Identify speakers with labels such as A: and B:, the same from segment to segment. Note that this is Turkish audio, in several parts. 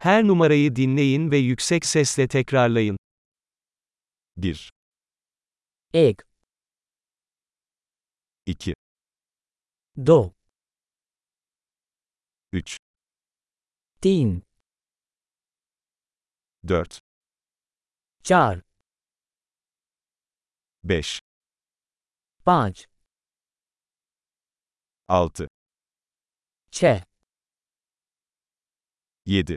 A: Her numarayı dinleyin ve yüksek sesle tekrarlayın.
B: 1,
C: एक
B: 2,
C: दो
B: 3,
C: तीन
B: 4,
C: चार
B: 5,
C: पाँच
B: 6,
C: छः
B: 7,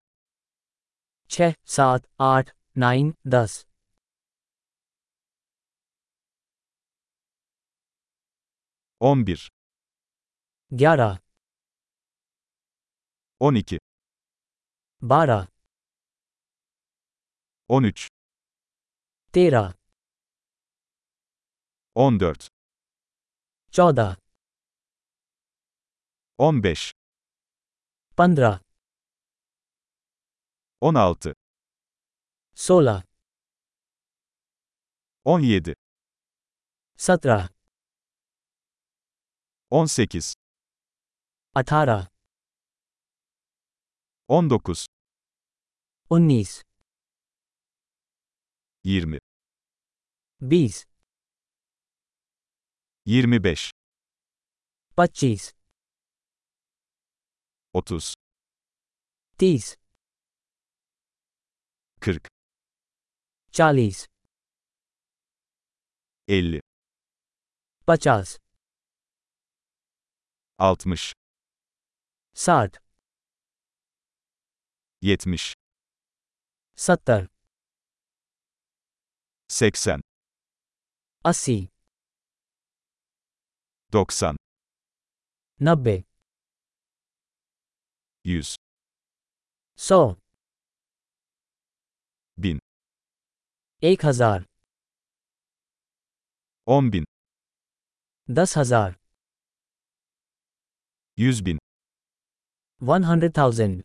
C: छः सात आठ नाइन दस
B: On bir,
C: ग्यारह
B: on iki,
C: बारह
B: on üç,
C: तेरह
B: on dört,
C: चौदह
B: on beş,
C: पंद्रह
B: on altı,
C: सोलह
B: on yedi,
C: सत्रह
B: on sekiz,
C: अठारह
B: on dokuz,
C: उन्नीस
B: yirmi,
C: बीस
B: yirmi beş,
C: पच्चीस
B: otuz,
C: तीस
B: kırk,
C: चालीस
B: elli,
C: पचास
B: altmış,
C: साठ
B: yetmiş,
C: सत्तर
B: seksen,
C: अस्सी
B: doksan,
C: नब्बे
B: yüz,
C: सौ
B: bin,
C: एक हजार
B: on bin,
C: दस हजार
B: yüz bin,
C: one hundred thousand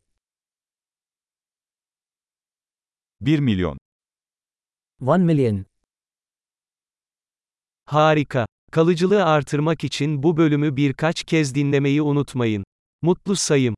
B: bir milyon.
C: One million
A: Harika. Kalıcılığı artırmak için bu bölümü birkaç kez dinlemeyi unutmayın. Mutlu sayım.